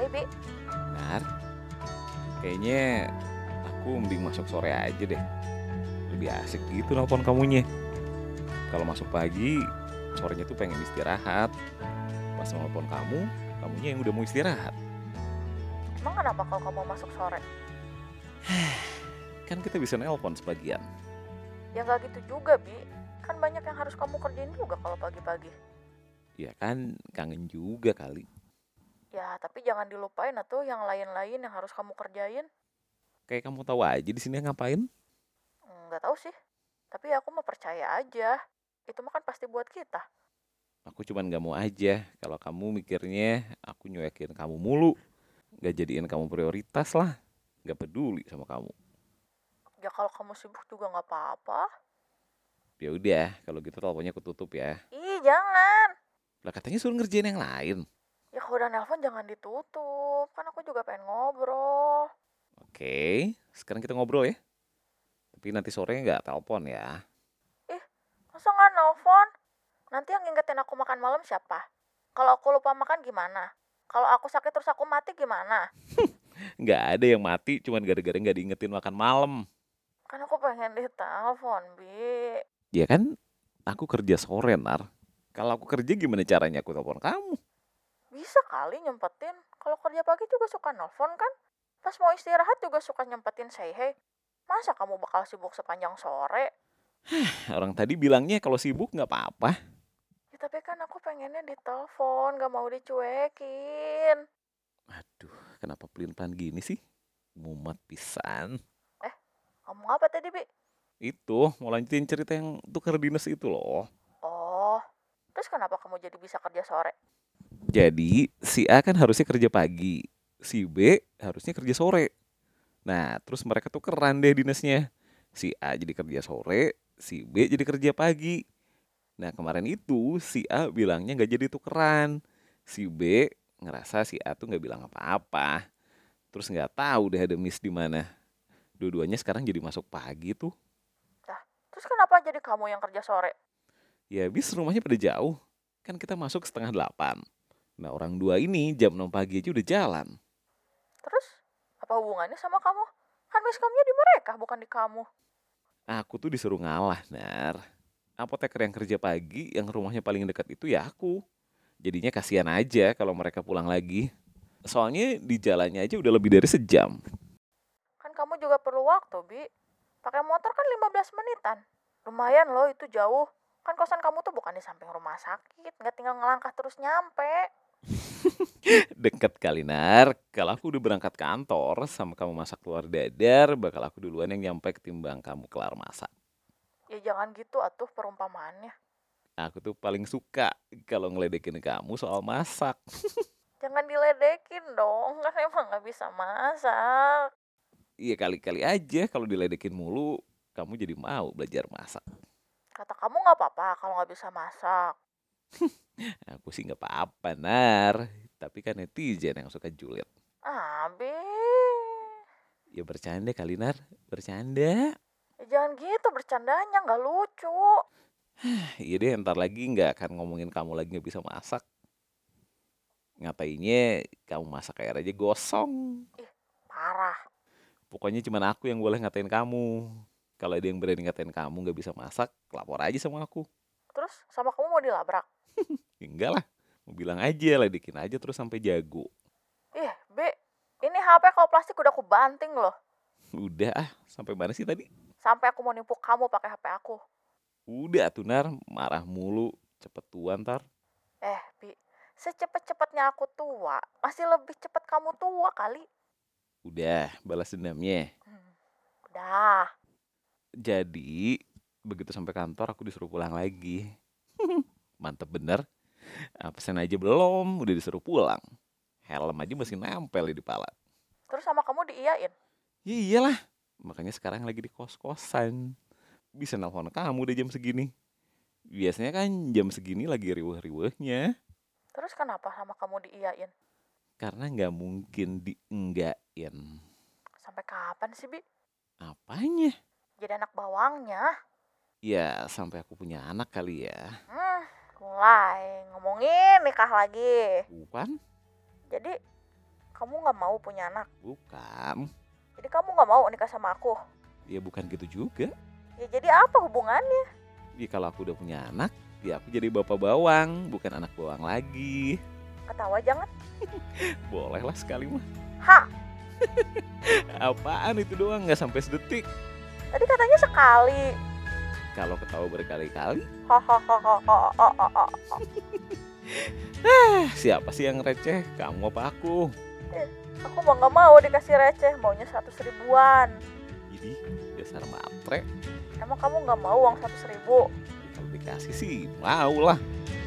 Ayo, Pi. Benar. Kayaknya aku mending masuk sore aja deh. Lebih asik gitu nelpon kamunya. Kalau masuk pagi, sorenya tuh pengen istirahat. Pas nelpon kamu, kamunya yang udah mau istirahat. Emang kenapa kalau kamu masuk sore? Kan kita bisa nelpon sebagian. Ya nggak gitu juga, Bi. Kan banyak yang harus kamu kerjain juga kalau pagi-pagi. Ya kan kangen juga kali. Ya, tapi jangan dilupain atau yang lain-lain yang harus kamu kerjain. Kayak kamu tahu aja di sini ngapain? Hmm, Nggak tahu sih. Tapi aku mau percaya aja. Itu mah kan pasti buat kita. Aku cuman gak mau aja kalau kamu mikirnya aku nyuekin kamu mulu. Gak jadiin kamu prioritas lah. Gak peduli sama kamu. Ya kalau kamu sibuk juga nggak apa-apa. Ya udah, kalau gitu teleponnya aku tutup ya. Ih, jangan. Lah katanya suruh ngerjain yang lain. Ya kalau udah nelpon jangan ditutup. Kan aku juga pengen ngobrol. Oke, sekarang kita ngobrol ya. Tapi nanti sore nggak telepon ya. Masa nggak nelpon? Nanti yang ngingetin aku makan malam siapa? Kalau aku lupa makan gimana? Kalau aku sakit terus aku mati gimana? Nggak ada yang mati, cuman gara-gara nggak diingetin makan malam. Kan aku pengen ditelepon, Bi. Ya kan, aku kerja sore ntar. Kalau aku kerja gimana caranya aku telepon kamu? Bisa kali nyempetin. Kalau kerja pagi juga suka nelpon kan? Pas mau istirahat juga suka nyempetin say hey. Masa kamu bakal sibuk sepanjang sore? Orang tadi bilangnya kalau sibuk nggak apa-apa. Ya, tapi kan aku pengennya ditelepon, gak mau dicuekin. Aduh, kenapa pelin-pelan gini sih? Mumat pisan. Ngomong apa tadi, Bi? Itu, mau lanjutin cerita yang tukar dinas itu loh. Oh, terus kenapa kamu jadi bisa kerja sore? Jadi si A kan harusnya kerja pagi, si B harusnya kerja sore. Nah, terus mereka tuh keren deh dinasnya. Si A jadi kerja sore, si B jadi kerja pagi. Nah, kemarin itu si A bilangnya nggak jadi tukeran. Si B ngerasa si A tuh nggak bilang apa-apa. Terus nggak tahu deh ada miss di mana. Dua-duanya sekarang jadi masuk pagi tuh. Terus kenapa jadi kamu yang kerja sore? Ya habis rumahnya pada jauh. Kan kita masuk setengah delapan. Nah, orang dua ini jam 6 pagi aja udah jalan. Terus, apa hubungannya sama kamu? Kan miskomnya di mereka, bukan di kamu. Aku tuh disuruh ngalah, Nar. Apoteker yang kerja pagi, yang rumahnya paling dekat itu ya aku. Jadinya kasihan aja kalau mereka pulang lagi. Soalnya di jalannya aja udah lebih dari sejam. Kan kamu juga perlu waktu, Bi. Pakai motor kan 15 menitan. Lumayan loh, itu jauh. Kan kosan kamu tuh bukan di samping rumah sakit, nggak tinggal ngelangkah terus nyampe. Deket kali, Nar. Kalau aku udah berangkat kantor sama kamu masak luar dadar, bakal aku duluan yang nyampe ketimbang kamu kelar masak. Ya jangan gitu atuh perumpamaannya. Aku tuh paling suka kalau ngeledekin kamu soal masak. Jangan diledekin dong, kan emang nggak bisa masak. Iya kali-kali aja kalau diledekin mulu, kamu jadi mau belajar masak. Kata kamu nggak apa-apa kalau nggak bisa masak. Aku sih nggak apa-apa, Nar. Tapi kan netizen yang suka julid. Ah, Bi. Ya bercanda kali, Nar. Bercanda. Ya jangan gitu bercandanya, nggak lucu. Iya deh, ntar lagi nggak akan ngomongin kamu lagi nggak bisa masak. Ngatainnya kamu masak air aja gosong. Parah. Pokoknya cuman aku yang boleh ngatain kamu. Kalau ada yang berani ngatain kamu nggak bisa masak, lapor aja sama aku. Terus sama kamu mau dilabrak? Ya enggak lah. Mau bilang aja, ledekin aja terus sampai jago. Ih, Bi, ini HP kalau plastik udah aku banting loh. Udah ah, sampai mana sih tadi? Sampai aku mau nipu kamu pakai HP aku. Udah tuh, Nar. Marah mulu. Cepet tua ntar. Eh, Bi, secepat-cepatnya aku tua, masih lebih cepat kamu tua kali. Udah, balas dendamnya. Hmm, Udah, Jadi begitu sampai kantor aku disuruh pulang lagi. Mantep bener. Ah, Absen aja belum, udah disuruh pulang. Helm aja masih nempel di pala. Terus sama kamu diiyain. Ya iyalah. Makanya sekarang lagi di kos-kosan. Bisa nelpon kamu udah jam segini. Biasanya kan jam segini lagi riweh-riwehnya. Terus kenapa sama kamu diiyain? Karena nggak mungkin dienggakin. Sampai kapan sih, Bi? Apanya? Jadi anak bawangnya. Ya sampai aku punya anak kali ya. Hmm, mulai ngomongin nikah lagi. Bukan? Jadi kamu nggak mau punya anak. Bukan. Jadi kamu nggak mau nikah sama aku. Ya bukan gitu juga. Ya jadi apa hubungannya? Ya kalau aku udah punya anak, ya aku jadi bapak bawang, bukan anak bawang lagi. Ketawa jangan. Bolehlah sekali mah. Ha, Apaan itu doang nggak sampai sedetik. tadi katanya sekali. Kalau ketawa berkali-kali, Hahaha. eh, siapa sih yang receh? Kamu apa aku? Aku mau nggak mau dikasih receh, maunya seratus ribuan. Jadi dasar matre. Emang kamu nggak mau uang seratus ribu? Ya, kalau dikasih sih mau lah.